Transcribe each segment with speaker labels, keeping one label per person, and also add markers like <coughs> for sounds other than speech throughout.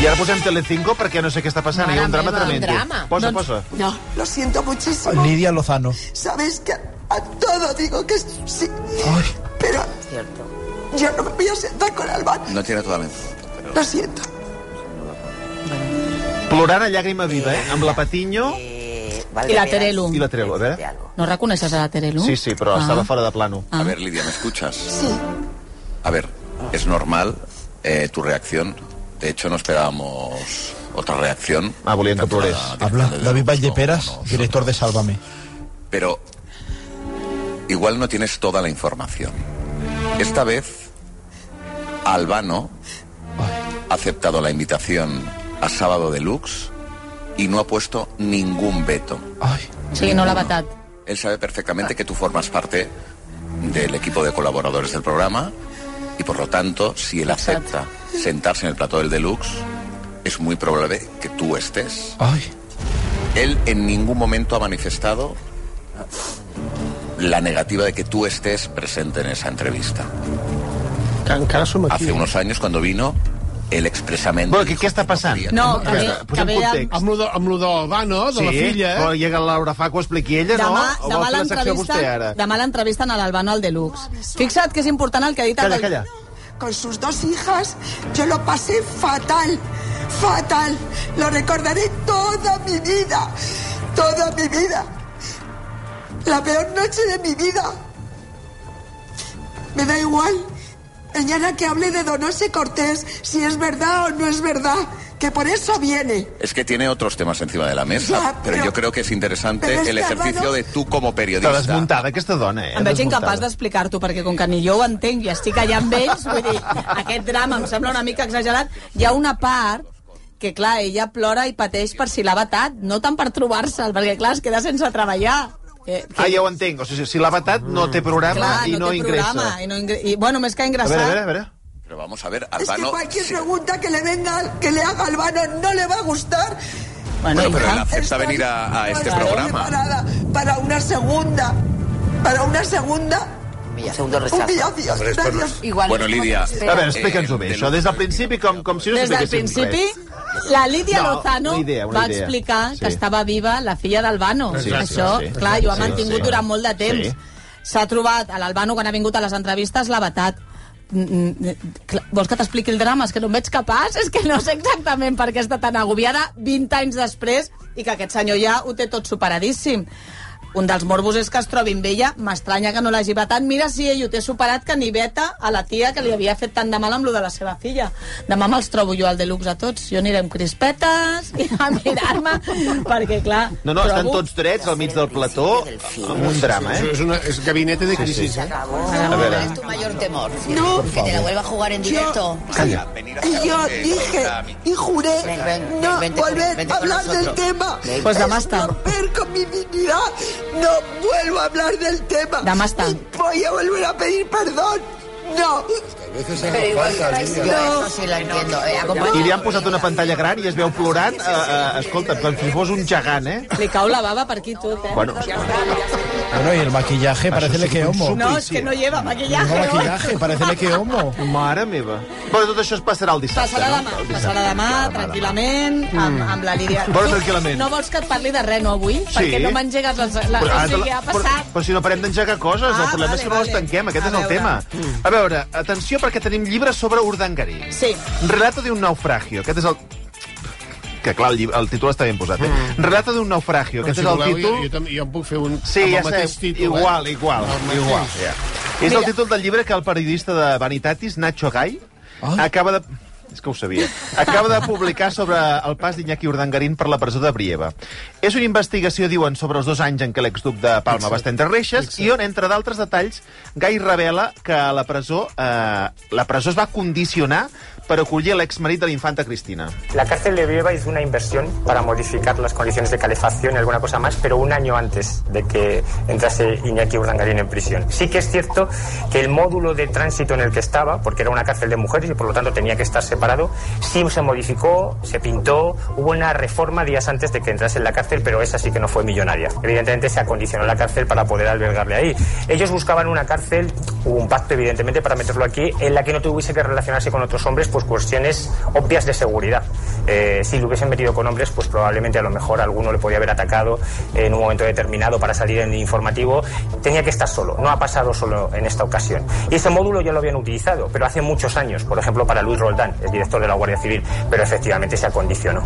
Speaker 1: I ara posem Telecinco perquè no sé què està passant.
Speaker 2: Mare
Speaker 1: Hi ha un drama
Speaker 2: meva, un
Speaker 1: tremendo.
Speaker 2: drama.
Speaker 1: Posa,
Speaker 2: Doncs-
Speaker 1: posa.
Speaker 2: No.
Speaker 3: Lo siento muchísimo.
Speaker 4: Nidia Lozano.
Speaker 3: Sabéis que a todo digo que sí. Pero
Speaker 2: Cierto.
Speaker 3: yo no me voy a sentar con Alba.
Speaker 5: No tiene toda la info.
Speaker 3: Lo siento.
Speaker 1: Plorant a llàgrima viva, eh? Amb la Patiño...
Speaker 2: Y la Terelu.
Speaker 1: Y la Terelu, a ver.
Speaker 2: ¿No reconoces a la Ah. Terelu?
Speaker 1: Sí, sí,
Speaker 6: Ah.
Speaker 1: però estava fora de plano.
Speaker 5: A ver, Lidia, ¿me escuchas?
Speaker 3: Sí.
Speaker 5: A ver, es normal eh, tu reacción. De hecho, no esperábamos otra reacción.
Speaker 1: Ah, volien que plorés.
Speaker 4: pues, Habla David Valleperas,
Speaker 5: No, no,
Speaker 4: director de Sálvame.
Speaker 5: Pero igual no tienes toda la información. Esta vez, Albano ha aceptado la invitación a Sábado Deluxe y no ha puesto ningún veto.
Speaker 4: Ay.
Speaker 2: Sí, no l'ha vetat.
Speaker 5: Él sabe perfectamente que tú formas parte del equipo de colaboradores del programa y por lo tanto, si él
Speaker 2: Exacto.
Speaker 5: acepta sentarse en el plató del Deluxe, es muy probable que tú estés.
Speaker 4: Ay.
Speaker 5: Él en ningún momento ha manifestado la negativa de que tú estés presente en esa entrevista.
Speaker 7: Encara som aquí.
Speaker 5: Hace unos años, cuando vino, él expresamente...
Speaker 1: Bueno, què,
Speaker 5: dijo
Speaker 1: què està
Speaker 5: que
Speaker 1: passant?
Speaker 5: quería
Speaker 2: No,
Speaker 5: que
Speaker 2: que ve,
Speaker 1: Està,
Speaker 2: que
Speaker 1: posem
Speaker 2: ve de,
Speaker 1: context.
Speaker 7: Amb lo, de, amb lo de l'Albano, de la filla,
Speaker 1: però
Speaker 7: eh?
Speaker 1: llega la Laura Fa que ho expliqui ella,
Speaker 6: Demà,
Speaker 1: no? O
Speaker 6: demà
Speaker 1: vol fer la secció vostè ara?
Speaker 6: l'entrevisten demà l'entrevisten a l'Albano al Deluxe. Fixa't que és important el que ha dit...
Speaker 1: Calla,
Speaker 6: el-
Speaker 1: calla.
Speaker 3: Con sus dos hijas yo lo pasé fatal. Fatal. Lo recordaré toda mi vida. Toda mi vida. La peor noche de mi vida. Me da igual. Mañana que hable de Donoso Cortés, si es verdad o no es verdad, que por eso viene.
Speaker 5: Es que tiene otros temas encima de la mesa,
Speaker 3: Ya,
Speaker 5: pero,
Speaker 3: pero-
Speaker 5: yo creo que es interesante
Speaker 3: pero este es
Speaker 5: el
Speaker 3: que
Speaker 5: ejercicio
Speaker 3: Álvaro-
Speaker 5: de tú como
Speaker 1: Està
Speaker 5: periodista.
Speaker 1: desmuntada, aquesta dona, eh?
Speaker 6: Em veig
Speaker 1: Desmuntada.
Speaker 6: incapaç d'explicar-t'ho, perquè com que ni jo ho entenc i estic allà amb ells, vull dir, aquest drama em sembla una mica exagerat. Hi ha una part que, clar, ella plora i pateix per si l'ha vetat, no tant per trobar-se'l, perquè, clar, es queda sense treballar. Eh, que-
Speaker 1: Ah, ja ho entenc. O sigui, si l'ha vetat, no té programa
Speaker 6: clar,
Speaker 1: i no,
Speaker 6: té
Speaker 1: ingressa.
Speaker 6: programa, I, no ingre... I, bueno, més que
Speaker 1: A
Speaker 6: ingressar...
Speaker 1: veure, a veure, a veure.
Speaker 5: Pero vamos a ver,
Speaker 3: Es que
Speaker 5: Albano...
Speaker 3: cualquier
Speaker 5: sí.
Speaker 3: pregunta que le venga, que le haga Albano, no le va a gustar.
Speaker 5: Bueno, pero
Speaker 6: hija.
Speaker 5: él acepta
Speaker 3: Estoy-
Speaker 5: venir a, a
Speaker 3: no
Speaker 5: este
Speaker 3: estoy
Speaker 5: programa.
Speaker 3: preparada para una segunda. Para una segunda
Speaker 2: Segundo
Speaker 3: humillación.
Speaker 7: Hombre, esto no
Speaker 3: Gracias.
Speaker 2: Igual,
Speaker 5: Bueno, Lídia,
Speaker 1: A veure, explica'ns-ho bé,
Speaker 5: Eh,
Speaker 1: això, des del principi, com, com si no
Speaker 6: Des del
Speaker 1: sabéssim
Speaker 6: principi,
Speaker 1: res.
Speaker 6: la Lídia
Speaker 1: No,
Speaker 6: Lozano
Speaker 1: una idea, una
Speaker 6: va
Speaker 1: idea.
Speaker 6: explicar que
Speaker 1: Sí.
Speaker 6: estava viva la filla d'Albano.
Speaker 1: Sí,
Speaker 6: Això,
Speaker 1: sí, sí.
Speaker 6: clar, jo ho ha
Speaker 1: Sí,
Speaker 6: mantingut
Speaker 1: sí.
Speaker 6: durant molt de temps.
Speaker 1: Sí.
Speaker 6: S'ha trobat, a l'Albano, quan ha vingut a les entrevistes, l'ha vetat. Mm, mm, clar, Vols que t'expliqui el drama? És que no em veig capaç, és que no sé exactament per què està tan agobiada 20 anys després i que aquest senyor ja ho té tot superadíssim. Un dels morbos és que es trobin amb ella, m'estranya que no l'hagi vetat. Mira si ell ho té superat que ni veta a la tia que li havia fet tant de mal amb lo de la seva filla. Demà me'ls trobo jo al Deluxe a tots, jo aniré amb crispetes i a mirar-me, perquè clar...
Speaker 1: No, no, estan
Speaker 6: trobo-
Speaker 1: tots drets al mig del plató, amb un drama,
Speaker 7: Això
Speaker 1: eh?
Speaker 7: és, una, és gabinete de crisis. eh?
Speaker 1: A veure,
Speaker 8: Es tu mayor temor.
Speaker 3: No,
Speaker 8: Que te la vuelva a jugar en directo.
Speaker 1: calla.
Speaker 3: y yo
Speaker 5: eh,
Speaker 3: dije y juré
Speaker 8: Ven, ven,
Speaker 3: no
Speaker 8: vente con-
Speaker 3: volver
Speaker 8: vente
Speaker 3: a
Speaker 8: con
Speaker 3: hablar del
Speaker 8: nosotros.
Speaker 3: tema.
Speaker 8: Ven.
Speaker 6: Pues
Speaker 3: Es
Speaker 6: demà està.
Speaker 3: romper con mi dignidad. No vuelvo a hablar del tema.
Speaker 6: Demà està.
Speaker 3: Y voy a volver a pedir perdón. No.
Speaker 8: Pero igual estáis- yo eso sí lo entiendo. Eh, acompañad-
Speaker 1: I li han posat una pantalla gran i es veu plorant, eh, eh, escolta, com si fos un gegant, eh?
Speaker 6: Li cau la baba per aquí tot, eh?
Speaker 1: Bueno,
Speaker 4: Bueno, y el maquillaje, parece
Speaker 1: sí que
Speaker 4: que
Speaker 1: un
Speaker 4: homo.
Speaker 1: suplicio.
Speaker 6: no, és que no lleva
Speaker 4: Tengo
Speaker 6: maquillaje. No?
Speaker 4: maquillaje, parece que
Speaker 6: <laughs>
Speaker 4: homo.
Speaker 1: mare meva. Però tot això es passarà el dissabte,
Speaker 6: Passarà demà,
Speaker 1: no? El dissabte.
Speaker 6: passarà demà, Mm.
Speaker 1: Clar,
Speaker 6: tranquil·lament, amb, amb la Lídia.
Speaker 1: Bueno,
Speaker 6: Tu
Speaker 1: tranquil·lament.
Speaker 6: No vols que et parli de res, no, avui?
Speaker 1: Sí.
Speaker 6: Perquè no m'engegues les... les
Speaker 1: Però,
Speaker 6: o
Speaker 1: ara te la-
Speaker 6: sigui, ha
Speaker 1: però,
Speaker 6: passat...
Speaker 1: però si no parem d'engegar coses,
Speaker 6: Ah,
Speaker 1: el problema
Speaker 6: vale,
Speaker 1: és que no les
Speaker 6: vale.
Speaker 1: tanquem, aquest
Speaker 6: A
Speaker 1: és el
Speaker 6: veure.
Speaker 1: tema. A veure, atenció perquè tenim llibres sobre Urdangarín.
Speaker 6: Sí.
Speaker 1: Relato de un naufragio, aquest és el que clar, el, llibre, el títol està ben posat, eh?
Speaker 6: Mm.
Speaker 1: Relato de un naufragio,
Speaker 7: Però
Speaker 1: aquest
Speaker 7: si
Speaker 1: és el
Speaker 7: voleu,
Speaker 1: títol...
Speaker 7: Jo, jo, tam- jo en puc fer un
Speaker 1: Sí,
Speaker 7: amb
Speaker 1: ja
Speaker 7: el mateix
Speaker 1: sé,
Speaker 7: títol.
Speaker 1: igual,
Speaker 7: eh?
Speaker 1: igual,
Speaker 7: Amb el mateix.
Speaker 1: igual. Ja. És el títol del llibre que el periodista de Vanitatis, Nacho Gay,
Speaker 7: Ah.
Speaker 1: acaba de... És que ho sabia. Acaba de publicar sobre el pas d'Iñaki Urdangarín per la presó de Brieva. És una investigació, diuen, sobre els dos anys en què l'exduc de Palma va estar entre reixes i on, entre d'altres detalls, Gai revela que a la presó, eh, la presó es va condicionar per acollir l'exmarit de l'infanta Cristina.
Speaker 9: La cárcel de Brieva hizo una inversión para modificar las condiciones de calefacción y alguna cosa más, pero un año antes de que entrase Iñaki Urdangarín en prisión. Sí que es cierto que el módulo de tránsito en el que estaba, porque era una cárcel de mujeres y por lo tanto tenía que estar separado, sí se modificó, se pintó, hubo una reforma días antes de que entrase en la cárcel, pero esa sí que no fue millonaria. Evidentemente se acondicionó la cárcel para poder albergarle ahí. Ellos buscaban una cárcel, hubo un pacto evidentemente para meterlo aquí, en la que no tuviese que relacionarse con otros hombres, pues cuestiones obvias de seguridad. eh, si lo hubiesen metido con hombres, pues probablemente a lo mejor alguno le podía haber atacado en un momento determinado para salir en el informativo. Tenía que estar solo, no ha pasado solo en esta ocasión. Y ese módulo ya lo habían utilizado, pero hace muchos años, por ejemplo, para Luis Roldán, el director de la Guardia Civil, pero efectivamente se acondicionó.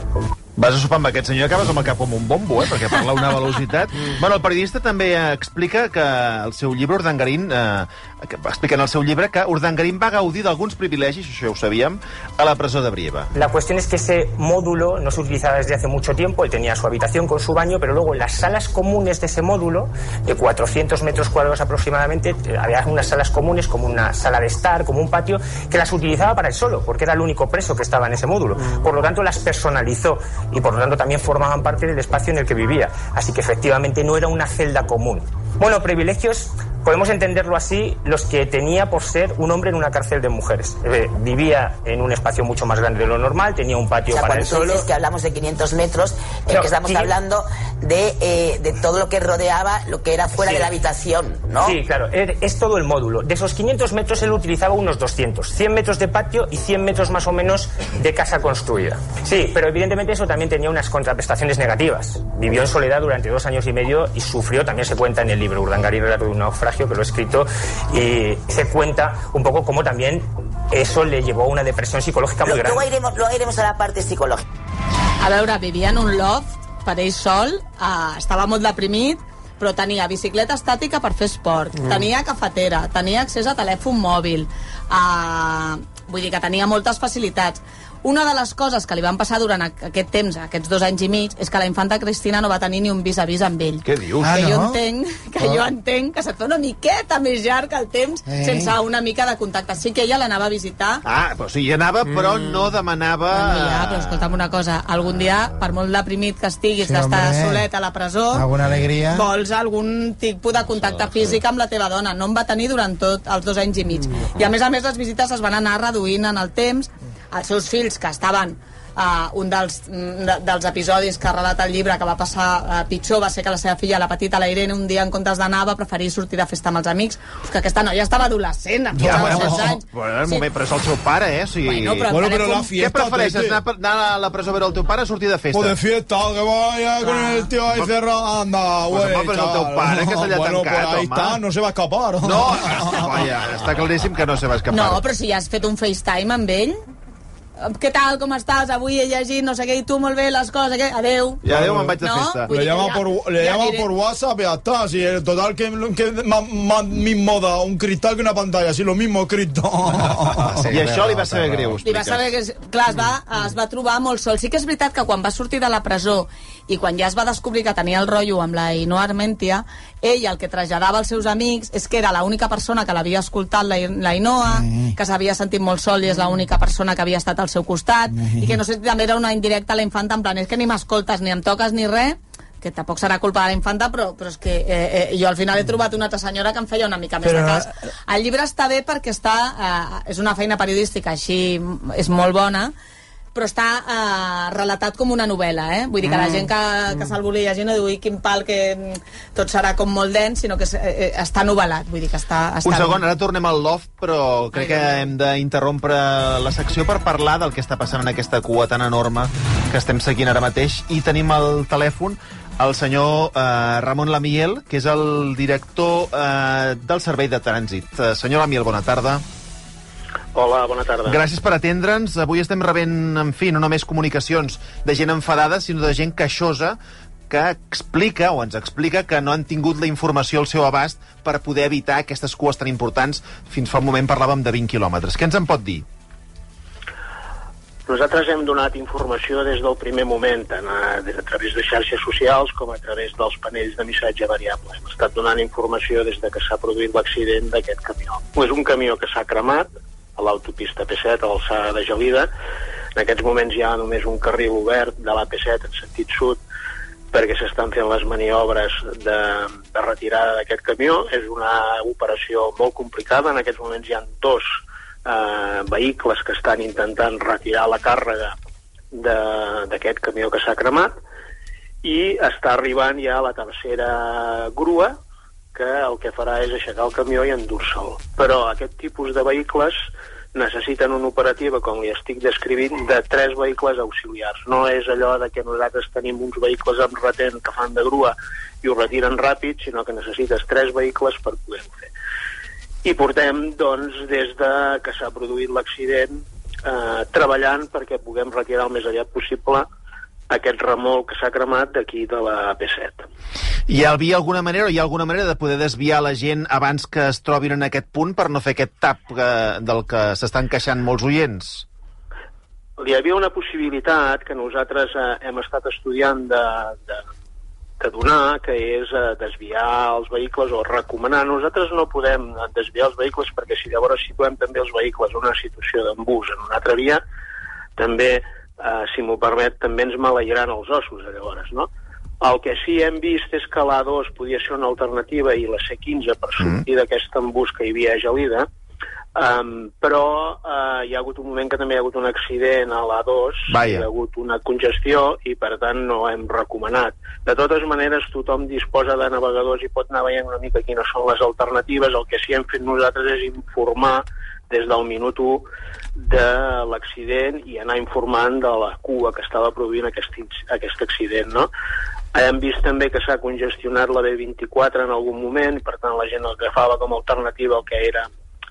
Speaker 1: Vas a sopar amb aquest senyor i acabes amb el cap com un bombo, eh? perquè parla a una
Speaker 6: <laughs>
Speaker 1: velocitat. bueno, el periodista també eh, explica que el seu llibre, Urdangarín, eh, que, explica en el seu llibre que Urdangarín va gaudir d'alguns privilegis, això ja ho sabíem, a la presó de Brieva.
Speaker 9: La cuestión es que ese módulo no se utilizaba desde hace mucho tiempo, él tenía su habitación con su baño, pero luego en las salas comunes de ese módulo, de 400 metros cuadrados aproximadamente, eh, había unas salas comunes, como una sala de estar, como un patio, que las utilizaba para él solo, porque era el único preso que estaba en ese módulo. Por lo tanto, las personalizó y por lo tanto también formaban parte del espacio en el que vivía. Así que efectivamente no era una celda común. Bueno, privilegios, podemos entenderlo así, los que tenía por ser un hombre en una cárcel de mujeres. Eh, Vivía en un espacio mucho más grande de lo normal, tenía un
Speaker 8: O
Speaker 9: patio
Speaker 8: sea,
Speaker 9: para él
Speaker 8: cuando tú
Speaker 9: solo.
Speaker 8: dices que hablamos de 500 metros, es
Speaker 9: No,
Speaker 8: que estamos
Speaker 9: sí.
Speaker 8: hablando de, eh, de todo lo que rodeaba, lo que era fuera
Speaker 9: Sí.
Speaker 8: de la habitación, ¿no?
Speaker 9: Sí, claro, es, es todo el módulo. De esos 500 metros él utilizaba unos 200, 100 metros de patio y 100 metros más o menos de casa construida. Sí, pero evidentemente eso también tenía unas contraprestaciones negativas. Vivió en soledad durante dos años y medio y sufrió, también se cuenta en el libro Urdangarín, relato de un naufragio, que lo he escrito, y se cuenta un poco cómo también eso le llevó a una depresión psicológica
Speaker 8: Lo-
Speaker 9: muy grande.
Speaker 8: Luego iremos, luego iremos a la parte psicológica.
Speaker 6: A veure, vivia en un loft per ell sol, eh, estava molt deprimit, però tenia bicicleta estàtica per fer esport, mm. tenia cafetera, tenia accés a telèfon mòbil, eh, vull dir que tenia moltes facilitats. Una de les coses que li van passar durant aqu- aquest temps, aquests dos anys i mig, és que la infanta Cristina no va tenir ni un vis-a-vis amb ell.
Speaker 1: Què dius?
Speaker 4: Ah,
Speaker 6: que
Speaker 4: no? Ah.
Speaker 6: jo entenc que jo entenc que se't fa una miqueta més llarg el temps
Speaker 4: Eh.
Speaker 6: sense una mica de contacte. Sí que ella l'anava a visitar,
Speaker 1: Ah, però sí, hi anava, però no demanava...
Speaker 6: Mm. Bueno, ja, però escolta'm una cosa. Algun dia, per molt deprimit que estiguis
Speaker 4: Sí,
Speaker 6: d'estar
Speaker 4: home.
Speaker 6: solet a la presó,
Speaker 4: Alguna alegria.
Speaker 6: vols algun tipus de contacte físic amb la teva dona. No en va tenir durant tot els dos anys i mig. I a més a més les visites es van anar reduint en el temps. Els seus fills, que estaven Uh, un dels, mm, de, dels episodis que relata el llibre que va passar uh, pitjor va ser que la seva filla, la petita, la Irene, un dia en comptes d'anar va preferir sortir de festa amb els amics Uf, que aquesta noia estava adolescent amb
Speaker 1: Ja,
Speaker 6: ja,
Speaker 1: bueno,
Speaker 6: 16 anys
Speaker 1: bueno, un
Speaker 6: Sí.
Speaker 1: moment, però és el seu pare, eh? O sigui...
Speaker 6: Bueno, però-
Speaker 4: Bueno, pero la
Speaker 6: Telèfon.
Speaker 1: Què
Speaker 4: fiesta...
Speaker 1: prefereixes,
Speaker 4: Tete.
Speaker 1: anar, per- anar a la presó a veure el teu pare o sortir de festa?
Speaker 4: O de fiesta, que vaya con
Speaker 6: Ah.
Speaker 4: el tío ahí cerrado. Anda,
Speaker 1: Pues,
Speaker 4: güey.
Speaker 1: home, però és el teu
Speaker 4: chaval.
Speaker 1: pare que se li ha
Speaker 4: <laughs> Bueno,
Speaker 1: tancat,
Speaker 4: pues ahí
Speaker 1: home.
Speaker 4: está, no se va a escapar. <laughs>
Speaker 1: No, <laughs> vaja, està claríssim que no se va escapar.
Speaker 6: No, però si ja has fet un FaceTime amb ell... Eh, Què tal, com estàs? Avui he llegit, no sé què, i tu molt bé, les coses, què? Adéu.
Speaker 1: Ja, adéu, me'n vaig de
Speaker 6: No?
Speaker 1: festa.
Speaker 6: Vull
Speaker 4: Le
Speaker 6: dir
Speaker 4: llama,
Speaker 6: que ja-
Speaker 4: por, le
Speaker 6: ja
Speaker 4: llama
Speaker 6: diré-
Speaker 4: por WhatsApp y ya está. Si el total que, que ma- ma- mismo da un cristal que una pantalla, si lo mismo escrito. <laughs>
Speaker 1: I això li va saber
Speaker 6: Li
Speaker 1: greu,
Speaker 6: va
Speaker 1: expliques. Mm.
Speaker 6: saber que, és- clar, es va, es va trobar molt sol. Sí que és veritat que quan va sortir de la presó i quan ja es va descobrir que tenia el rotllo amb la Ainhoa Armentia, ell el que traslladava als seus amics és que era l'única persona que l'havia escoltat la, I- la Ainhoa,
Speaker 1: Mm.
Speaker 6: que s'havia sentit molt sol i és l'única persona que havia estat al seu costat,
Speaker 1: Mm.
Speaker 6: i que no sé si també era una indirecta a la infanta, en plan, és que ni m'escoltes, ni em toques, ni res, que tampoc serà culpa de la infanta, però, però és que eh, eh, jo al final he trobat una altra senyora que em feia una mica més
Speaker 4: Però
Speaker 6: de
Speaker 4: no-
Speaker 6: cas. El llibre està bé perquè està, eh, és una feina periodística així, m- és molt bona, però està eh, relatat com una novel·la, eh? Vull dir que la gent que, que se'l volia llegir no diu, "Ui, quin pal, que mm, tot serà com molt dens, sinó que és, eh, eh, està novel·lat, vull dir que està... està
Speaker 1: Un segon,
Speaker 6: bé.
Speaker 1: ara tornem al loft, però crec que hem d'interrompre la secció per parlar del que està passant en aquesta cua tan enorme que estem seguint ara mateix. I tenim al telèfon el senyor eh, Ramon Lamiel, que és el director eh, del Servei de Trànsit. Eh, senyor Lamiel, bona tarda.
Speaker 10: Hola, bona tarda.
Speaker 1: Gràcies per atendre'ns. Avui estem rebent, en fi, no només comunicacions de gent enfadada, sinó de gent queixosa que explica o ens explica que no han tingut la informació al seu abast per poder evitar aquestes cues tan importants. Fins fa un moment parlàvem de 20 quilòmetres. Què ens en pot dir?
Speaker 10: Nosaltres hem donat informació des del primer moment, tant a, des a través de xarxes socials com a través dels panells de missatge variable. Hem estat donant informació des de que s'ha produït l'accident d'aquest camió. És un camió que s'ha cremat a l'autopista P7, a l'alçada de Gelida. En aquests moments hi ha només un carril obert de la P7 en sentit sud perquè s'estan fent les maniobres de, de retirada d'aquest camió. És una operació molt complicada. En aquests moments hi ha dos eh, vehicles que estan intentant retirar la càrrega de- d'aquest camió que s'ha cremat i està arribant ja la tercera grua que el que farà és aixecar el camió i endur-se'l. Però aquest tipus de vehicles necessiten una operativa, com li estic descrivint, de tres vehicles auxiliars. No és allò de que nosaltres tenim uns vehicles amb retent que fan de grua i ho retiren ràpid, sinó que necessites tres vehicles per poder-ho fer. I portem, doncs, des de que s'ha produït l'accident, eh, treballant perquè puguem retirar el més aviat possible aquest remolc que s'ha cremat d'aquí de la P7.
Speaker 1: Hi havia alguna manera o hi ha alguna manera de poder desviar la gent abans que es trobin en aquest punt per no fer aquest tap eh, del que s'estan queixant molts oients?
Speaker 10: Hi havia una possibilitat que nosaltres eh, hem estat estudiant de, de, de donar, que és eh, desviar els vehicles o recomanar. Nosaltres no podem eh, desviar els vehicles perquè si llavors situem també els vehicles en una situació d'embús en una altra via, també, eh, si m'ho permet, també ens maleiraran els ossos, eh, llavors, no? El que sí hem vist és que l'A2 podia ser una alternativa i la C15 per sortir mm. d'aquest embús que hi havia a Gelida, Um, però uh, hi ha hagut un moment que també hi ha hagut un accident a l'A2, hi
Speaker 1: Vaja.
Speaker 10: ha hagut una congestió i per tant no hem recomanat. De totes maneres, tothom disposa de navegadors i pot anar veient una mica quines són les alternatives. El que sí hem fet nosaltres és informar des del minut 1 de l'accident i anar informant de la cua que estava produint aquest, inc- aquest accident, no? Hem vist també que s'ha congestionat la B24 en algun moment, per tant la gent agafava com a alternativa el que era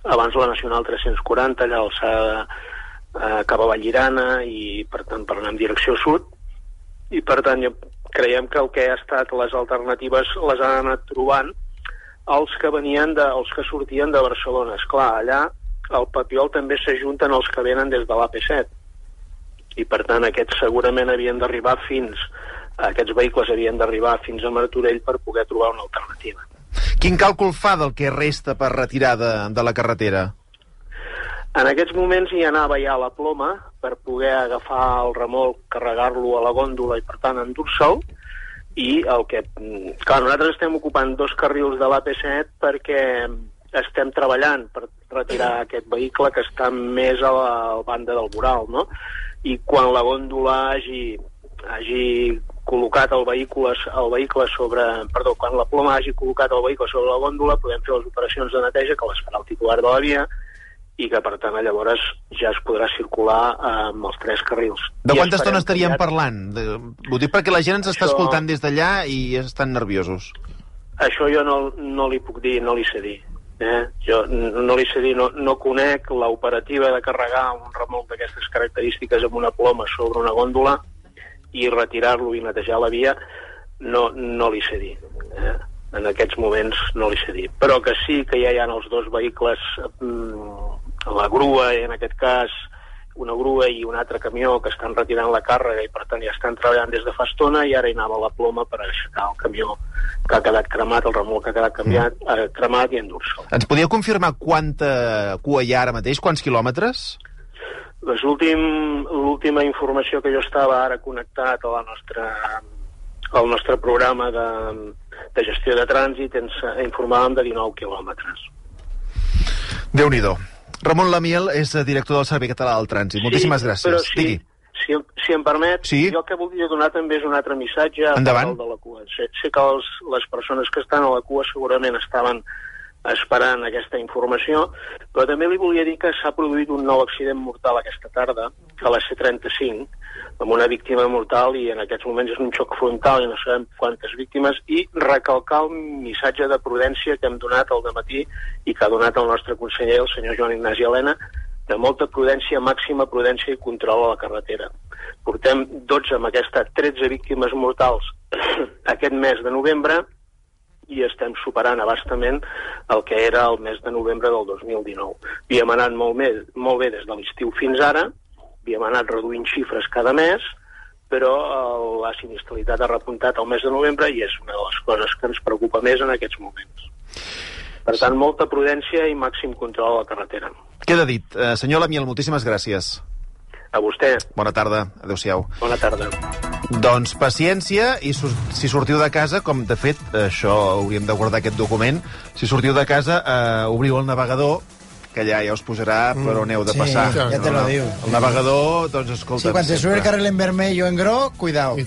Speaker 10: abans la Nacional 340, allà a l'alçada eh, cap a Vallirana i per tant per anar en direcció sud i per tant jo creiem que el que ha estat les alternatives les han anat trobant els que venien de, els que sortien de Barcelona. És clar, allà al Papiol també s'ajunten els que venen des de l'AP7 i per tant aquests segurament havien d'arribar fins aquests vehicles havien d'arribar fins a Martorell per poder trobar una alternativa.
Speaker 1: Quin càlcul fa del que resta per retirar de, de la carretera?
Speaker 10: En aquests moments hi anava ja la ploma per poder agafar el remolc, carregar-lo a la gòndola i, per tant, endur-se'l. I el que... mm, Clar, nosaltres estem ocupant dos carrils de l'AP7 perquè estem treballant per retirar aquest vehicle que està més a la banda del Boral, no? I quan la gòndola hagi, hagi col·locat el vehicle, el vehicle sobre... Perdó, quan la ploma hagi col·locat el vehicle sobre la gòndola, podem fer les operacions de neteja que les farà el titular de la via i que, per tant, llavors ja es podrà circular eh, amb els tres carrils.
Speaker 1: De
Speaker 10: I
Speaker 1: quanta
Speaker 10: esperem
Speaker 1: estona estaríem
Speaker 10: aviat-
Speaker 1: parlant? De, ho dic perquè la gent ens està
Speaker 10: Això-
Speaker 1: escoltant des d'allà i estan nerviosos.
Speaker 10: Això jo no, no li puc dir, no li sé dir. Eh? Jo no no li sé dir, no, no conec l'operativa de carregar un remolc d'aquestes característiques amb una ploma sobre una gòndola i retirar-lo i netejar la via, no, no li sé dir. Eh? En aquests moments no li sé dir. Però que sí que ja hi ha els dos vehicles, mm, la grua, en aquest cas, una grua i un altre camió que estan retirant la càrrega i per tant ja estan treballant des de fa estona i ara hi anava la ploma per aixecar el camió que ha quedat cremat, el remolc que ha quedat canviat, eh, cremat i endur-se'l.
Speaker 1: Ens podíeu confirmar quanta cua hi ha ara mateix? Quants quilòmetres?
Speaker 10: Doncs l'últim- L'última informació que jo estava ara connectat a la nostra, al nostre programa de, de gestió de trànsit ens eh, informàvem de 19 quilòmetres.
Speaker 1: déu nhi Ramon Lamiel és eh, director del Servei Català del Trànsit. Moltíssimes gràcies.
Speaker 10: Però si,
Speaker 1: Digui.
Speaker 10: si, si em permet,
Speaker 1: Sí.
Speaker 10: jo el que voldria donar també és un altre missatge a
Speaker 1: Endavant.
Speaker 10: favor de la cua. Sé, sé que els, les persones que estan a la cua segurament estaven esperant aquesta informació, però també li volia dir que s'ha produït un nou accident mortal aquesta tarda, a la C-35, amb una víctima mortal i en aquests moments és un xoc frontal i no sabem quantes víctimes, i recalcar el missatge de prudència que hem donat al matí i que ha donat el nostre conseller, el senyor Joan Ignasi Helena, de molta prudència, màxima prudència i control a la carretera. Portem 12 amb aquesta, 13 víctimes mortals <coughs> aquest mes de novembre i estem superant abastament el que era el mes de novembre del 2019. Havíem anat molt bé, molt bé des de l'estiu fins ara, havíem anat reduint xifres cada mes, però eh, la sinistralitat ha repuntat al mes de novembre i és una de les coses que ens preocupa més en aquests moments. Per tant, molta prudència i màxim control a la carretera.
Speaker 1: Queda dit. Eh, senyor Lamiel, moltíssimes gràcies.
Speaker 10: A vostè.
Speaker 1: Bona tarda. Adéu-siau.
Speaker 10: Bona tarda.
Speaker 1: Doncs paciència, i sur- si sortiu de casa, com de fet, això hauríem de guardar aquest document, si sortiu de casa, eh, obriu el navegador, que ja, ja us posarà per on heu de
Speaker 11: Mm, sí,
Speaker 1: passar.
Speaker 11: ja te lo diu.
Speaker 1: El navegador, doncs, escolta...
Speaker 11: Sí, quan se sube el carril en vermell o en groc, cuidao.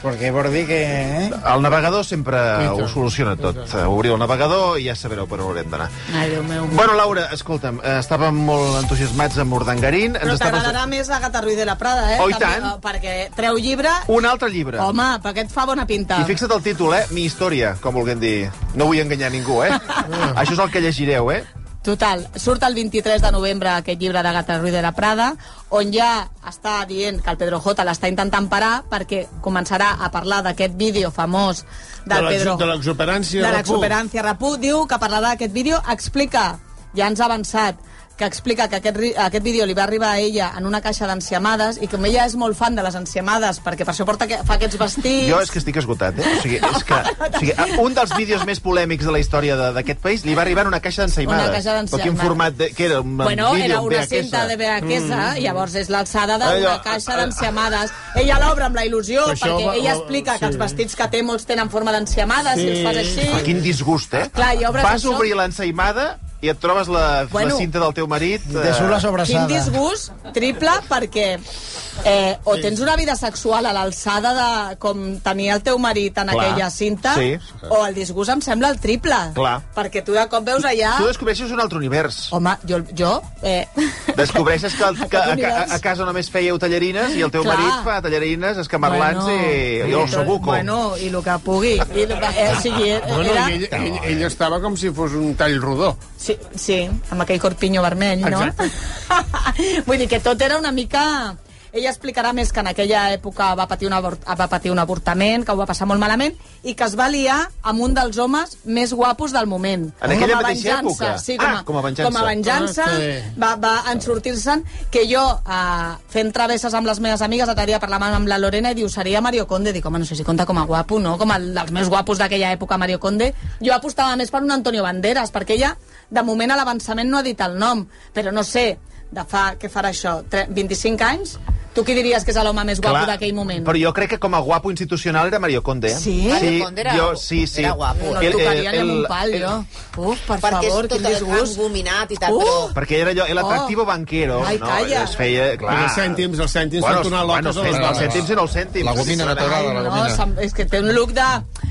Speaker 11: Perquè vol dir que... Eh?
Speaker 1: El navegador sempre ho soluciona tot. Obriu el navegador i ja sabreu per on haurem d'anar.
Speaker 6: Ai, Déu meu.
Speaker 1: Bueno, Laura, escolta'm, eh, estàvem molt entusiasmats amb Urdangarín.
Speaker 6: Però t'agradarà més Agatha Ruiz de la Prada, eh?
Speaker 1: Oh, i
Speaker 6: També,
Speaker 1: tant.
Speaker 6: eh, Perquè treu llibre...
Speaker 1: Un altre llibre.
Speaker 6: Home, perquè et fa bona pinta.
Speaker 1: I fixa't el títol, eh? Mi història, com vulguem dir. No vull enganyar ningú, eh? Això és el que llegireu, eh?
Speaker 6: Total, surt el 23 de novembre aquest llibre de Gata Ruiz de la Prada, on ja està dient que el Pedro J l'està intentant parar perquè començarà a parlar d'aquest vídeo famós del
Speaker 7: de
Speaker 6: Pedro
Speaker 7: l'exu- De l'exuperància.
Speaker 6: de
Speaker 7: Rapú.
Speaker 6: l'exuperància Rapú, diu que parlarà d'aquest vídeo, explica, ja ens ha avançat, que explica que aquest, ri- aquest vídeo li va arribar a ella en una caixa d'enciamades i com ella és molt fan de les enciamades perquè per això porta que, fa aquests vestits...
Speaker 1: Jo és que estic esgotat, eh? O sigui, és que, o sigui, un dels vídeos més polèmics de la història de- d'aquest país li va arribar en una caixa d'ensaïmades.
Speaker 6: Una caixa d'ensaïmades.
Speaker 1: Però quin format... De, què era? Un
Speaker 6: Bueno,
Speaker 1: vídeo,
Speaker 6: era
Speaker 1: un
Speaker 6: una
Speaker 1: VHS?
Speaker 6: cinta de VHS, mm. llavors és l'alçada d'una
Speaker 1: Allò-
Speaker 6: caixa d'enciamades. Ella l'obre amb la il·lusió,
Speaker 1: Però
Speaker 6: perquè
Speaker 1: això va-
Speaker 6: ella
Speaker 1: va-
Speaker 6: explica
Speaker 1: sí.
Speaker 6: que els vestits que té molts tenen forma d'enciamades, sí. i els fas així...
Speaker 1: Ah, quin disgust, eh?
Speaker 6: Clar, i obres
Speaker 1: Vas
Speaker 6: això.
Speaker 1: obrir l'ensaïmada i et trobes la,
Speaker 6: Bueno.
Speaker 1: la cinta del teu marit... eh,
Speaker 6: Quin disgust triple perquè eh, o tens una vida sexual a l'alçada de com tenia el teu marit en
Speaker 1: Clar.
Speaker 6: aquella cinta,
Speaker 1: Sí.
Speaker 6: o el disgust em sembla el triple.
Speaker 1: Clar.
Speaker 6: Perquè tu de cop veus allà...
Speaker 1: Tu descobreixes un altre univers.
Speaker 6: Home, jo... jo eh,
Speaker 1: Descobreixes que, el- que a, a,
Speaker 6: univers.
Speaker 1: a casa només fèieu tallarines i el teu
Speaker 6: Clar.
Speaker 1: marit fa tallarines, escamarlans i, i el sobuco.
Speaker 6: Bueno, i el que pugui. <laughs> I, el que- eh, o sigui, eh,
Speaker 7: Bueno,
Speaker 6: era...
Speaker 7: i ell, ell, ell, estava com si fos un tall rodó.
Speaker 6: Sí, sí amb aquell corpinyo vermell, no? <laughs> Vull dir que tot era una mica... Ella explicarà més que en aquella època va patir, un abort, va patir un avortament, que ho va passar molt malament, i que es va liar amb un dels homes més guapos del moment.
Speaker 1: En aquella
Speaker 6: Com a
Speaker 1: mateixa
Speaker 6: venjança,
Speaker 1: època?
Speaker 6: Sí, com a,
Speaker 1: Ah, com a venjança.
Speaker 6: Com a venjança,
Speaker 1: Ah, sí.
Speaker 6: va, va ensortir-se'n, que jo, eh, fent travesses amb les meves amigues, l'altre dia parlant amb la Lorena i diu, seria Mario Conde. Dic, home, no sé si compta com a guapo, no? Com el, dels més guapos d'aquella època, Mario Conde. Jo apostava més per un Antonio Banderas, perquè ella, de moment, a l'avançament no ha dit el nom. Però no sé, de fa, què farà això, Tre- 25 anys? Tu qui diries que és l'home més guapo
Speaker 1: Clar,
Speaker 6: d'aquell moment?
Speaker 1: Però jo crec que com a guapo institucional era Mario Conde. eh?
Speaker 6: Sí?
Speaker 1: sí
Speaker 6: Mario Conde era-
Speaker 1: jo, sí, sí.
Speaker 6: era guapo. No el tocaria ni amb un pal, jo. Uf, per
Speaker 8: Perquè
Speaker 6: favor,
Speaker 8: és tot
Speaker 6: quin
Speaker 8: el
Speaker 6: disgust.
Speaker 8: engominat i tal,
Speaker 6: Uh!
Speaker 8: però...
Speaker 1: Perquè era allò, el atractivo
Speaker 8: Oh.
Speaker 1: oh. banquero.
Speaker 8: Ai,
Speaker 1: no?
Speaker 8: calla.
Speaker 1: Es feia, clar...
Speaker 7: Perquè els cèntims, els cèntims
Speaker 1: Bueno,
Speaker 7: van tornar
Speaker 1: bueno,
Speaker 7: locos a
Speaker 1: els
Speaker 7: les dones.
Speaker 1: cèntims eren els cèntims.
Speaker 7: La gomina natural, la
Speaker 6: No, sem- és que té un look de,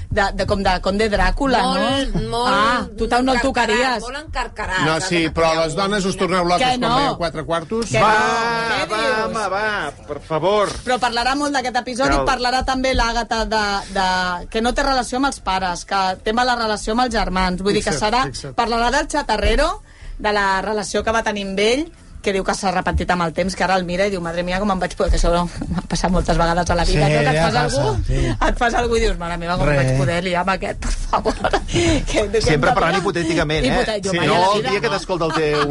Speaker 6: de, de com de conde Dràcula,
Speaker 8: Molt,
Speaker 6: no?
Speaker 8: molt
Speaker 6: ah, tu tant no el tocaries.
Speaker 8: Molt
Speaker 6: Ah,
Speaker 8: encarcarat.
Speaker 7: No, sí, però les dones us torneu
Speaker 6: Que
Speaker 7: locos
Speaker 6: no.
Speaker 7: quan veieu quatre quartos.
Speaker 6: Que
Speaker 1: Va,
Speaker 6: Què
Speaker 1: va,
Speaker 6: dius?
Speaker 1: home, va, per favor.
Speaker 6: Però parlarà molt d'aquest episodi,
Speaker 1: Cal.
Speaker 6: parlarà també l'Àgata de, de, que no té relació amb els pares, que té mala relació amb els germans. Vull dir que
Speaker 8: Fixa't,
Speaker 6: serà...
Speaker 8: fixa't.
Speaker 6: Parlarà del xatarrero, de la relació que va tenir amb ell, que diu que s'ha repentit amb el temps, que ara el mira i diu, madre mia, com em vaig poder... Que a sobre m'ha passat moltes vegades a la vida. no?
Speaker 11: Sí,
Speaker 6: que et
Speaker 11: ja
Speaker 6: fas
Speaker 11: passa,
Speaker 6: algú,
Speaker 11: sí.
Speaker 6: et fas algú i dius, mare meva, com Re.
Speaker 11: Re.
Speaker 6: vaig poder liar amb aquest, per favor. <laughs> que, que
Speaker 1: Sempre parlant hipotèticament, eh?
Speaker 6: Hipotè- jo
Speaker 1: Sí,
Speaker 6: mai a
Speaker 1: no
Speaker 6: la
Speaker 1: el
Speaker 6: vida,
Speaker 1: dia que t'escolta el teu,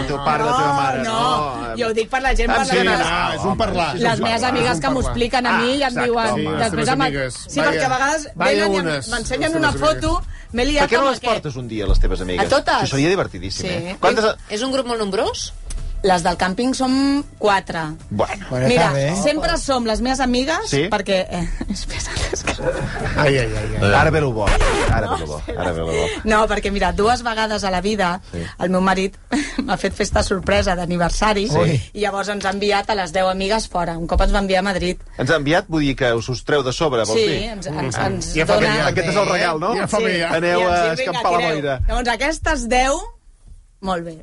Speaker 1: el teu pare, la teva mare.
Speaker 6: No, no, jo ho dic per la gent,
Speaker 1: Ah,
Speaker 6: per
Speaker 1: sí,
Speaker 6: les meves,
Speaker 1: ah, és un parlar, és un
Speaker 6: les meves
Speaker 1: parlar, és
Speaker 6: amigues
Speaker 1: un
Speaker 6: que m'ho
Speaker 1: parlar.
Speaker 6: expliquen a mi i em
Speaker 1: Ah,
Speaker 6: diuen...
Speaker 1: exacte, home.
Speaker 6: després
Speaker 1: les
Speaker 6: em-
Speaker 1: amigues.
Speaker 6: Sí, perquè a
Speaker 1: Vaya-
Speaker 6: vegades
Speaker 1: vaya
Speaker 6: venen i em-
Speaker 1: unes,
Speaker 6: m'ensenyen
Speaker 1: les
Speaker 6: una
Speaker 1: teves
Speaker 6: foto, m'he
Speaker 1: Per
Speaker 6: liat
Speaker 1: què no
Speaker 6: amb
Speaker 1: les
Speaker 6: aquest.
Speaker 1: portes un dia, les teves amigues?
Speaker 6: A totes?
Speaker 1: Això seria divertidíssim,
Speaker 6: Sí.
Speaker 1: eh? Quantes...
Speaker 6: És un grup molt nombrós? Les del càmping som quatre.
Speaker 1: Bueno.
Speaker 6: Mira, sempre som les meves amigues,
Speaker 1: Sí?
Speaker 6: perquè... Eh, <laughs> espera, és que...
Speaker 1: Ai, ai, ai, ai. Ara ve el bo. Ara ve el bo. Ara ve el bo.
Speaker 6: No, perquè mira, dues vegades a la vida sí. el meu marit <laughs> m'ha fet festa sorpresa d'aniversari
Speaker 1: Sí.
Speaker 6: i llavors ens ha enviat a les 10 amigues fora. Un cop ens va enviar a Madrid.
Speaker 1: Ens ha enviat, vull dir que us us treu de sobre, vols
Speaker 6: sí,
Speaker 1: dir?
Speaker 6: ens, ens, ens
Speaker 1: Ja fa bé, Aquest és el regal, no?
Speaker 6: eh? Sí.
Speaker 1: Aneu
Speaker 6: I ens diu,
Speaker 1: a
Speaker 6: vinga,
Speaker 1: escampar la
Speaker 6: tireu.
Speaker 1: boira.
Speaker 6: Llavors, aquestes 10... Molt bé.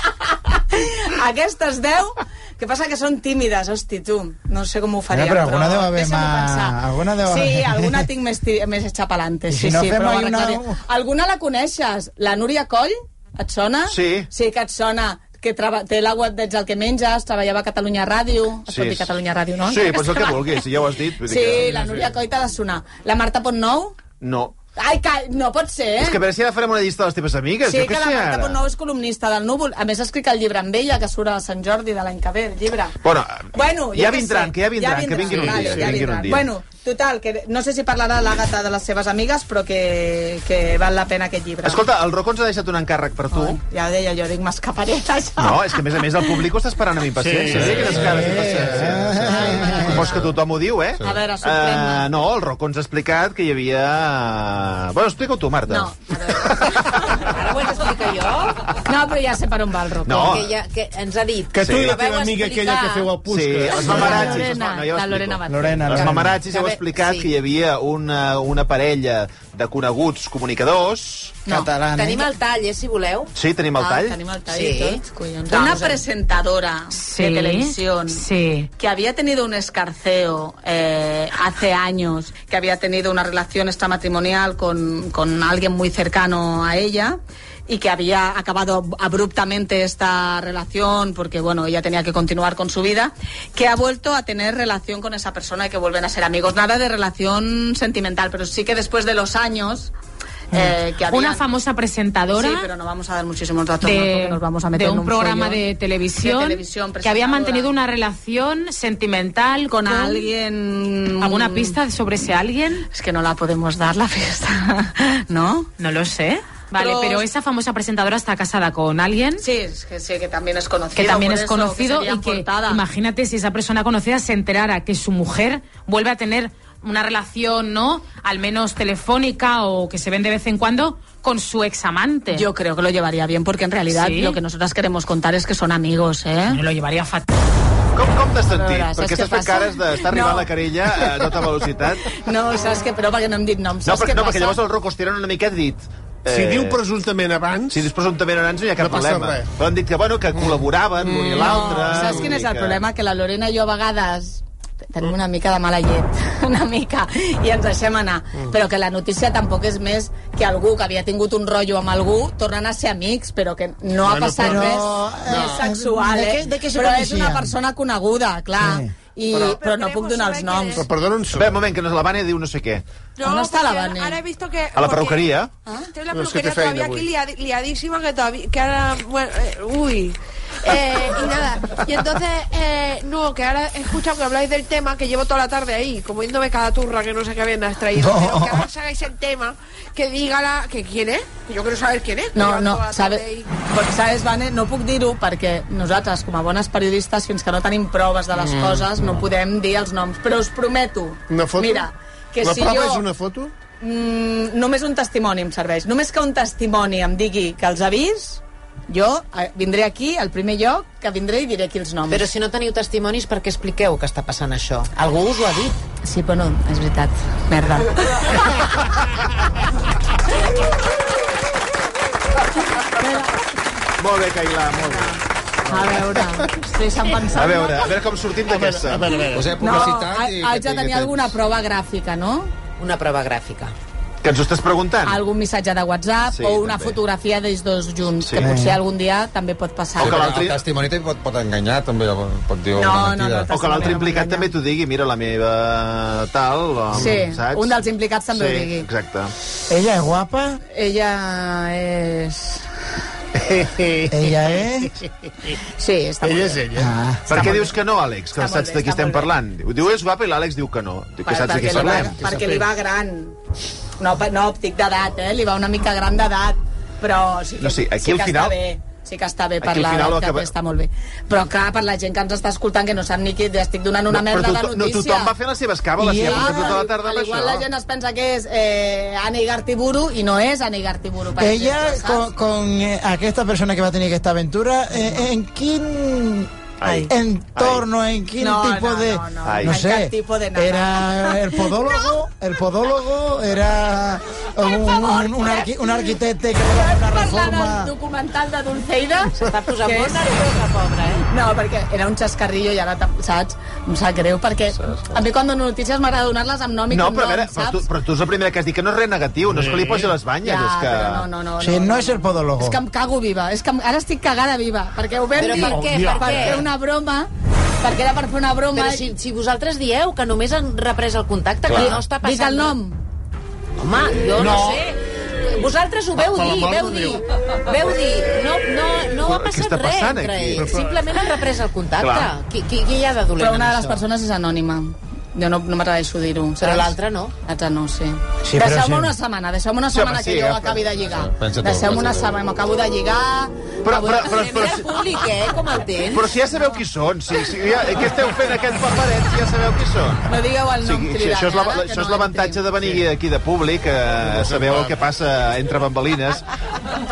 Speaker 6: <laughs> aquestes 10... Que passa que són tímides, hosti, tu. No sé com ho faríem,
Speaker 11: Mira, però alguna deu haver
Speaker 6: deixa'm-ho
Speaker 11: más-
Speaker 6: pensar.
Speaker 11: alguna deu
Speaker 6: Sí,
Speaker 11: haver-
Speaker 6: alguna tinc més, ti- més xapalante.
Speaker 11: I
Speaker 6: Sí,
Speaker 11: si no
Speaker 6: sí,
Speaker 11: fem
Speaker 6: però
Speaker 11: ahí una-
Speaker 6: arreglaré. Alguna la coneixes? La Núria Coll? Et sona?
Speaker 1: Sí.
Speaker 6: Sí, que et sona que treba, té la web d'Ets el que menges, treballava a Catalunya Ràdio, es pot dir Catalunya Ràdio, no?
Speaker 1: Sí, pots el que vulguis, si ja ho has dit. vull dir
Speaker 6: Sí,
Speaker 1: que-
Speaker 6: la Núria Coll t'ha de sonar. La Marta Pontnou?
Speaker 1: No.
Speaker 6: Ai, que no pot ser, eh?
Speaker 1: És que a veure si ara farem una llista de les teves amigues.
Speaker 6: Sí,
Speaker 1: jo
Speaker 6: que la
Speaker 1: què sé
Speaker 6: Marta
Speaker 1: ara.
Speaker 6: Pontnou és columnista del Núvol. A més, ha escrit el llibre amb ella, que surt a Sant Jordi de l'any que ve, el llibre.
Speaker 1: Bueno,
Speaker 6: Bueno, jo
Speaker 1: ja
Speaker 6: què
Speaker 1: vindran,
Speaker 6: sé.
Speaker 1: que ja vindran, que vinguin un
Speaker 6: vale,
Speaker 1: dia, que
Speaker 6: ja
Speaker 1: vinguin un
Speaker 6: vindran.
Speaker 1: dia.
Speaker 6: Bueno, total, que no sé si parlarà l'Àgata de les seves amigues, però que, que val la pena aquest llibre.
Speaker 1: Escolta, el Rocco ens ha deixat un encàrrec per tu.
Speaker 6: Ja ho deia jo, dic, m'escaparé d'això.
Speaker 1: No, és que a més a més el públic ho està esperant amb impaciència.
Speaker 11: Sí,
Speaker 1: Sí, Quines
Speaker 11: sí,
Speaker 1: cares
Speaker 11: sí.
Speaker 1: impaciència. Vols que tothom ho diu, eh?
Speaker 6: A veure, sorprèn-me.
Speaker 1: Eh, no, eh, el Rocco ens ha explicat que hi havia... Bueno, explica-ho tu, Marta.
Speaker 6: No,
Speaker 8: ho haig d'explicar jo?
Speaker 6: No, però ja sé per on va el Rocco.
Speaker 1: No.
Speaker 8: Que, ja, que ens ha dit...
Speaker 1: Ah. Que tu i la
Speaker 8: veu
Speaker 1: teva amiga
Speaker 8: explicar.
Speaker 1: aquella que feu el Puskas. Sí, els mamarazzis,
Speaker 6: La
Speaker 1: es
Speaker 6: Lorena,
Speaker 1: va- no, ja ho
Speaker 6: la
Speaker 1: explico.
Speaker 6: Lorena Batet.
Speaker 11: Lorena,
Speaker 1: Els
Speaker 11: Lorena.
Speaker 1: mamarazzis heu
Speaker 8: Que bé,
Speaker 1: explicat
Speaker 8: sí.
Speaker 1: que hi havia una, una parella de coneguts comunicadors.
Speaker 11: Catalana.
Speaker 8: Tenim el tall, eh, si voleu.
Speaker 1: Sí, tenim
Speaker 12: Ah,
Speaker 1: el tall?
Speaker 6: Ah, Tenim el tall
Speaker 8: Sí.
Speaker 6: i tot, collons.
Speaker 8: Vamos
Speaker 6: Una
Speaker 8: a ver.
Speaker 6: presentadora de televisión que había tenido un escarceo eh, hace años, que había tenido una relación extramatrimonial con, con alguien muy cercano a ella y que había acabado ab- abruptamente esta relación porque, bueno, ella tenía que continuar con su vida, que ha vuelto a tener relación con esa persona y que vuelven a ser amigos. Nada de relación sentimental, pero sí que después de los años... eh, que habían-
Speaker 12: Una famosa presentadora
Speaker 6: Sí, pero no vamos a dar muchísimos datos,
Speaker 12: de,
Speaker 6: ¿no? Porque nos vamos a
Speaker 12: de
Speaker 6: meter en
Speaker 12: un,
Speaker 6: un
Speaker 12: programa
Speaker 6: follón.
Speaker 12: de televisión,
Speaker 6: De televisión,
Speaker 12: que había
Speaker 6: presentadora.
Speaker 12: mantenido una relación sentimental con,
Speaker 6: Con alguien.
Speaker 12: ¿Alguna pista sobre ese alguien?
Speaker 6: Es que no la podemos dar la pista, <laughs> ¿no?
Speaker 12: No lo sé. Vale,
Speaker 6: Pero-
Speaker 12: pero, esa famosa presentadora está casada con alguien
Speaker 6: Sí, es que sí, que también es conocido.
Speaker 12: que también
Speaker 6: por
Speaker 12: es
Speaker 6: eso,
Speaker 12: conocido
Speaker 6: sería
Speaker 12: y que
Speaker 6: portada.
Speaker 12: imagínate si esa persona conocida se enterara que su mujer vuelve a tener una relación, ¿no? Al menos telefónica o que se ven de vez en cuando con su examante.
Speaker 6: Yo creo que lo llevaría bien porque en realidad
Speaker 12: Sí.
Speaker 6: lo que nosotras queremos contar es que son amigos, ¿eh?
Speaker 12: lo llevaria fatal.
Speaker 1: Com, com t'has sentit?
Speaker 6: Veuràs,
Speaker 1: Perquè
Speaker 6: saps
Speaker 1: estàs
Speaker 6: què
Speaker 1: fent
Speaker 6: passa?
Speaker 1: cares d'estar arribant
Speaker 6: No.
Speaker 1: la querella a tota velocitat.
Speaker 6: No, saps que però perquè no hem dit noms.
Speaker 1: No,
Speaker 6: saps
Speaker 1: perquè,
Speaker 6: què
Speaker 1: no, perquè
Speaker 6: passa?
Speaker 1: llavors el Rocco Estirón una miqueta ha dit...
Speaker 7: Si diu presumptament abans...
Speaker 1: Eh. Si dius presumptament abans no hi ha cap
Speaker 7: No passa
Speaker 1: problema.
Speaker 7: res.
Speaker 1: Però han dit que, bueno, que col·laboraven l'un i l'altre...
Speaker 6: Mm. No, saps
Speaker 1: vull
Speaker 6: quin és
Speaker 1: dir
Speaker 6: el
Speaker 1: que-
Speaker 6: problema? Que la Lorena i jo a vegades tenim una mica de mala llet, <laughs> una mica, i ens deixem anar.
Speaker 11: Mm.
Speaker 6: Però que la notícia tampoc és més que algú que havia tingut un rotllo amb algú tornen a ser amics, però que no ha
Speaker 11: Bueno,
Speaker 6: passat
Speaker 11: però-
Speaker 6: res
Speaker 11: no.
Speaker 6: més sexual,
Speaker 11: De què-
Speaker 6: eh?
Speaker 11: de què se
Speaker 6: Però és
Speaker 11: coneixien?
Speaker 6: una persona coneguda, clar.
Speaker 11: Sí.
Speaker 6: I, però,
Speaker 1: Però-
Speaker 6: no puc donar els noms.
Speaker 1: Però perdona un segon. Bé, un moment, que nos la Vane diu no sé què.
Speaker 13: No,
Speaker 6: ¿Dónde
Speaker 8: pues
Speaker 6: está la
Speaker 13: porque
Speaker 6: Vane?
Speaker 13: Ahora he visto que...
Speaker 1: A la perruqueria.
Speaker 13: ¿Ah? Estoy en la
Speaker 1: No, es que
Speaker 13: peluquería
Speaker 1: te feina,
Speaker 13: todavía aquí liadi-
Speaker 1: güey.
Speaker 13: liadísima que todavía... Que ahora... Bueno, eh, uy. Eh, y nada, y entonces, eh, no, que ahora he escuchado que habláis del tema que llevo toda la tarde ahí, como yéndome cada turra que no sé qué bien has traído.
Speaker 6: No.
Speaker 13: Pero que ahora hagáis el tema, que diga la, que quién es, que yo quiero saber quién es. que
Speaker 6: No,
Speaker 13: lleva
Speaker 6: no,
Speaker 13: toda la tarde
Speaker 6: sabes,
Speaker 13: ahí.
Speaker 6: perquè, sabes, Vane, no puc dir-ho perquè nosaltres, com a bones periodistes, fins que no tenim proves de les
Speaker 7: Mm,
Speaker 6: coses, no.
Speaker 7: no.
Speaker 6: podem dir els noms. Però us prometo...
Speaker 7: Una foto?
Speaker 6: Mira, que
Speaker 7: la
Speaker 6: si
Speaker 7: prova
Speaker 6: jo...
Speaker 7: és una foto?
Speaker 6: Mm, només un testimoni em serveix. Només que un testimoni em digui que els ha vist, jo eh, vindré aquí, al primer lloc, que vindré i diré aquí els noms.
Speaker 8: Però si no teniu testimonis, per què expliqueu que està passant això? Algú us ho ha dit?
Speaker 6: Sí, però no, és veritat. Merda.
Speaker 1: Molt bé, Cailà, molt bé.
Speaker 6: A veure, estic pensant...
Speaker 1: A veure, a veure com sortim d'aquesta.
Speaker 7: a veure, a veure.
Speaker 1: Posem
Speaker 6: No, ha- haig de tenir alguna prova gràfica, no?
Speaker 8: Una prova gràfica.
Speaker 1: Que ens ho estàs preguntant?
Speaker 6: algun missatge de WhatsApp
Speaker 1: Ah,
Speaker 6: sí,
Speaker 1: Sí,
Speaker 6: o una
Speaker 1: també. Eh.
Speaker 6: fotografia d'ells dos junts,
Speaker 14: Sí.
Speaker 6: sí. que potser
Speaker 14: Sí.
Speaker 6: algun dia també pot passar.
Speaker 14: Sí, però el testimoni també pot, pot enganyar, també pot dir
Speaker 6: No,
Speaker 14: una
Speaker 6: no,
Speaker 14: mentida.
Speaker 6: no, el
Speaker 1: O que l'altre implicat també t'ho digui, mira, la meva tal, o,
Speaker 6: Sí,
Speaker 1: saps?
Speaker 6: un dels implicats també
Speaker 1: sí,
Speaker 6: ho digui. <laughs>
Speaker 1: exacte.
Speaker 11: Ella és guapa?
Speaker 6: Ella és...
Speaker 11: Ella és...
Speaker 6: Sí, està
Speaker 1: Ella
Speaker 6: molt
Speaker 1: és
Speaker 6: bé.
Speaker 1: ella. Ah, per què dius que no, Àlex? Que saps de qui estem parlant. Diu, diu és guapa i l'Àlex diu que no. Diu que saps de qui
Speaker 6: perquè, li va,
Speaker 1: parlem.
Speaker 6: perquè li va gran. No, pa- no òptic d'edat, eh? Li va una mica gran d'edat. Però sí que,
Speaker 1: No, sí, aquí
Speaker 6: sí
Speaker 1: al
Speaker 6: que
Speaker 1: final-
Speaker 6: està bé. Sí que està bé
Speaker 1: Aquí
Speaker 6: per
Speaker 1: al
Speaker 6: la
Speaker 1: final ho
Speaker 6: que
Speaker 1: acaba-
Speaker 6: està molt bé. Però clar, per la gent que ens està escoltant, que no sap ni qui, ja estic donant una
Speaker 1: No,
Speaker 6: merda
Speaker 1: però
Speaker 6: de
Speaker 1: tothom, no,
Speaker 6: notícia.
Speaker 1: tothom va fer les seves càbales,
Speaker 6: I
Speaker 1: yeah.
Speaker 6: clar,
Speaker 1: ja, tota la tarda
Speaker 6: al
Speaker 1: amb
Speaker 6: igual
Speaker 1: això.
Speaker 6: la gent es pensa que és eh, Anna Igartiburu i no és Anna Igartiburu. per
Speaker 11: Ella,
Speaker 6: exemple,
Speaker 11: con, con eh, aquesta persona que va a tener esta aventura, eh, ¿en qué
Speaker 1: Ay.
Speaker 11: entorno, en qué
Speaker 6: No,
Speaker 11: tipo
Speaker 6: no,
Speaker 11: de...
Speaker 6: no, no.
Speaker 1: Ay.
Speaker 11: no
Speaker 1: En
Speaker 11: sé,
Speaker 1: qué tipo de nada.
Speaker 11: era el podólogo, el podólogo, era un, un, un, arqui- un arquitecte que era una
Speaker 6: parlar
Speaker 11: reforma...
Speaker 6: del documental de Dulceida. S'està
Speaker 8: posant molt nerviosa,
Speaker 6: pobra, eh? No, perquè era un xascarrillo i ara, tam- saps? Em sap greu, perquè a mi quan dono notícies m'agrada donar-les amb nom i
Speaker 1: No,
Speaker 6: cognom,
Speaker 1: però a veure,
Speaker 6: saps?
Speaker 1: però tu, però tu és la primera que has dit que no és res negatiu, no és que li posi les banyes,
Speaker 6: Ja,
Speaker 1: és que...
Speaker 6: però no, no, no,
Speaker 11: Sí, no es el podólogo.
Speaker 6: És que em cago viva, és que em- ara estic cagada viva, perquè ho vam
Speaker 8: Però
Speaker 6: dir
Speaker 8: per què, per
Speaker 6: per
Speaker 8: què?
Speaker 6: fer una broma, perquè era per fer una broma...
Speaker 8: Però si, si vosaltres dieu que només han reprès el contacte, Clar. que no està passant...
Speaker 6: Dic el nom.
Speaker 8: Home, jo no,
Speaker 6: No.
Speaker 8: sé. Vosaltres ho veu
Speaker 6: Per
Speaker 8: dir,
Speaker 6: l'amor
Speaker 8: veu
Speaker 6: de
Speaker 8: dir,
Speaker 6: Déu.
Speaker 8: veu dir. No, no, no ha
Speaker 6: Però què
Speaker 8: passat
Speaker 6: està
Speaker 8: res
Speaker 6: passant
Speaker 8: entre
Speaker 6: aquí?
Speaker 8: ells.
Speaker 6: Però-
Speaker 8: Simplement han reprès el contacte.
Speaker 6: Clar.
Speaker 8: Qui, qui, qui hi ha de dolent
Speaker 6: Però una
Speaker 8: en
Speaker 6: de les
Speaker 8: això?
Speaker 6: persones és anònima. Jo no, no m'atreveixo a dir-ho.
Speaker 8: Però
Speaker 6: saps?
Speaker 8: l'altra no.
Speaker 6: L'altra no, sí.
Speaker 8: Sí, però
Speaker 6: Deixeu-me
Speaker 8: sí.
Speaker 6: una setmana, deixeu-me una
Speaker 8: Sí,
Speaker 6: setmana
Speaker 8: home,
Speaker 6: que
Speaker 8: sí,
Speaker 6: jo
Speaker 8: eh,
Speaker 6: acabi de lligar.
Speaker 1: pensa tu,
Speaker 6: Deixeu-me una
Speaker 1: pensa tu.
Speaker 6: setmana, m'acabo de lligar...
Speaker 1: Però, però, però, però,
Speaker 8: Sempre públic, eh? Com el tens?
Speaker 1: però si ja sabeu qui són, si, si ja, eh, què esteu fent aquest paperet si ja sabeu qui són?
Speaker 6: No digueu el nom,
Speaker 1: Sí,
Speaker 6: cridant,
Speaker 1: això és la-
Speaker 6: ara, que
Speaker 1: això
Speaker 6: no <laughs>
Speaker 1: és l'avantatge de venir aquí de públic, eh, sabeu el que passa entre bambalines.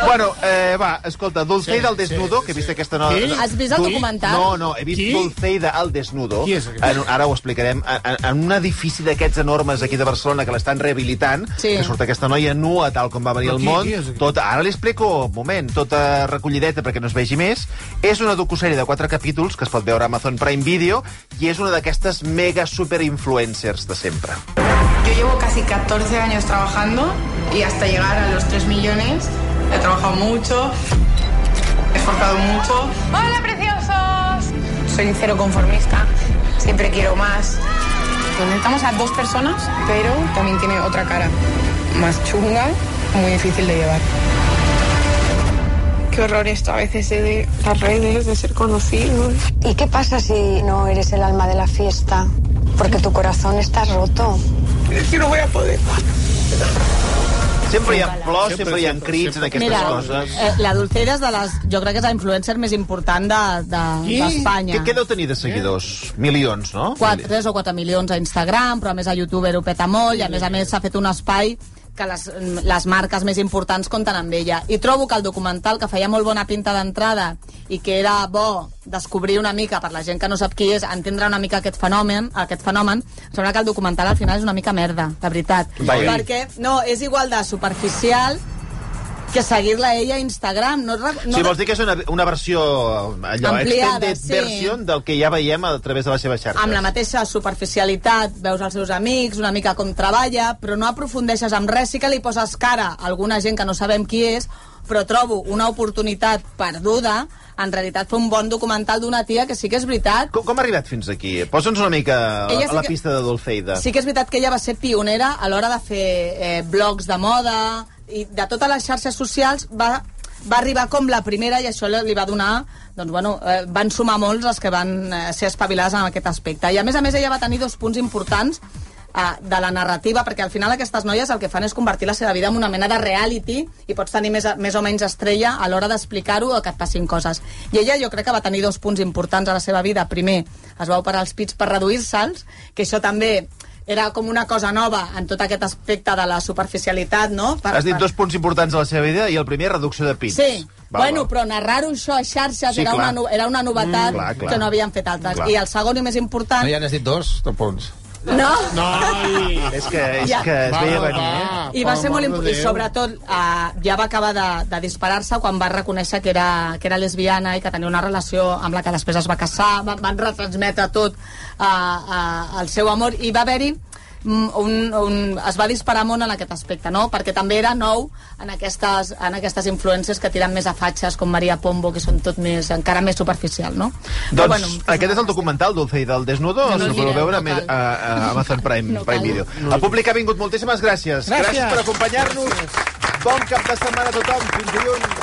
Speaker 1: Bueno, eh, va, escolta, Dulceida al desnudo, que he vist aquesta... No...
Speaker 6: Qui? Has vist el
Speaker 1: Dul-
Speaker 6: documental?
Speaker 1: No, no, he vist
Speaker 6: Qui?
Speaker 1: Dulceida al desnudo.
Speaker 7: Qui és aquest?
Speaker 1: en, ara ho explicarem. En, en un edifici d'aquests enormes aquí de Barcelona que l'estan rehabilitant,
Speaker 7: Sí.
Speaker 1: que surt aquesta noia nua tal com va venir
Speaker 7: Però
Speaker 1: al
Speaker 7: qui-
Speaker 1: món.
Speaker 7: qui és aquest?
Speaker 1: tota, ara li explico, un moment, tota recollideta perquè no es vegi més. És una docuserie de quatre capítols que es pot veure a Amazon Prime Video i és una d'aquestes mega superinfluencers de sempre.
Speaker 15: Yo llevo casi 14 años trabajando y hasta llegar a los 3 millones he trabajado mucho, he esforzado mucho. ¡Hola, preciosos! Soy cero conformista, siempre quiero más. Conectamos a dos personas, pero también tiene otra cara, más chunga, muy difícil de llevar. Qué horror esto a veces eh, de las redes, de ser eh. conocidos.
Speaker 16: ¿Y qué pasa si no eres el alma de la fiesta? Porque tu corazón está roto.
Speaker 15: Es que no voy a poder.
Speaker 1: Sempre hi ha plors, sempre hi ha crits en aquestes
Speaker 6: Mira,
Speaker 1: coses.
Speaker 6: eh, la Dulceida és de les... Jo crec que és la influencer més important de- de- d'Espanya.
Speaker 1: Què, què deu tenir de seguidors?
Speaker 6: Eh.
Speaker 1: Milions, no?
Speaker 6: 4, 3 o 4 milions a Instagram, però a més a YouTube ho peta molt i a més a més s'ha fet un espai que les, les marques més importants compten amb ella. I trobo que el documental, que feia molt bona pinta d'entrada i que era bo descobrir una mica, per la gent que no sap qui és, entendre una mica aquest fenomen, aquest fenomen sembla que el documental al final és una mica merda, de veritat.
Speaker 2: Vaja.
Speaker 6: Perquè, no, és igual de superficial que seguir-la ella a Instagram. No, re-
Speaker 1: No,
Speaker 6: no
Speaker 1: si vols dir que és una, una versió allò,
Speaker 6: Ampliada,
Speaker 1: extended
Speaker 6: sí.
Speaker 1: version del que ja veiem a través de les seves xarxes.
Speaker 6: amb la mateixa superficialitat, veus els seus amics, una mica com treballa, però no aprofundeixes amb res, sí que li poses cara a alguna gent que no sabem qui és, però trobo una oportunitat perduda, en realitat fer un bon documental d'una tia que sí que és veritat,
Speaker 1: Com, com ha arribat fins aquí? Posa'ns una mica a
Speaker 6: Ella sí
Speaker 1: la
Speaker 6: que-
Speaker 1: pista de Dolceida.
Speaker 6: Sí que és veritat que ella va ser pionera a l'hora de fer eh, blogs de moda i de totes les xarxes socials va, va arribar com la primera i això li li va donar doncs, bueno, eh, van sumar molts els que van eh, ser espavilats en aquest aspecte. I a més a més ella va tenir dos punts importants eh, de la narrativa, perquè al final aquestes noies el que fan és convertir la seva vida en una mena de reality i pots tenir més, més o menys estrella a l'hora d'explicar-ho o que et passin coses. I ella jo crec que va tenir dos punts importants a la seva vida. Primer, es va operar els pits per reduir-se'ls, que això també era com una cosa nova en tot aquest aspecte de la superficialitat, no? Per,
Speaker 1: Has dit dos punts importants de la seva vida i el primer, reducció de pits.
Speaker 6: Sí, va,
Speaker 1: Va,
Speaker 6: bueno,
Speaker 1: va.
Speaker 6: però narrar-ho això a xarxes sí,
Speaker 1: Sí,
Speaker 6: era,
Speaker 1: clar.
Speaker 6: una, no- era una novetat
Speaker 14: Mm, clar, clar.
Speaker 6: que no havien fet altres.
Speaker 14: Clar.
Speaker 6: I el segon i més important...
Speaker 14: No, ja n'has dit dos, dos punts.
Speaker 6: No?
Speaker 1: És que, és
Speaker 6: Ja.
Speaker 1: que es
Speaker 14: Va,
Speaker 1: veia
Speaker 14: va,
Speaker 1: venir, eh?
Speaker 6: I va
Speaker 14: per
Speaker 6: ser molt
Speaker 14: amor Ah,
Speaker 6: important.
Speaker 14: de
Speaker 6: I
Speaker 14: Déu.
Speaker 6: sobretot eh, ja va acabar de, de disparar-se quan va reconèixer que era, que era lesbiana i que tenia una relació amb la que després es va casar. Van, van retransmetre tot eh, eh, el seu amor. I va haver-hi mm, un, un, es va disparar molt en aquest aspecte, no? Perquè també era nou en aquestes, en aquestes influències que tiren més a fatxes, com Maria Pombo, que són tot més, encara més superficial, no?
Speaker 1: Doncs bueno, aquest és el documental, Dulceida, el desnudo,
Speaker 6: No,
Speaker 1: no,
Speaker 6: no
Speaker 1: el
Speaker 6: el
Speaker 1: podeu
Speaker 6: direm, no
Speaker 1: veure a,
Speaker 6: cal.
Speaker 1: a, a Amazon Prime, no Prime Video. El públic ha vingut, moltíssimes gràcies.
Speaker 7: Gràcies.
Speaker 1: gràcies per acompanyar-nos. Bon cap de setmana a tothom. Fins dilluns.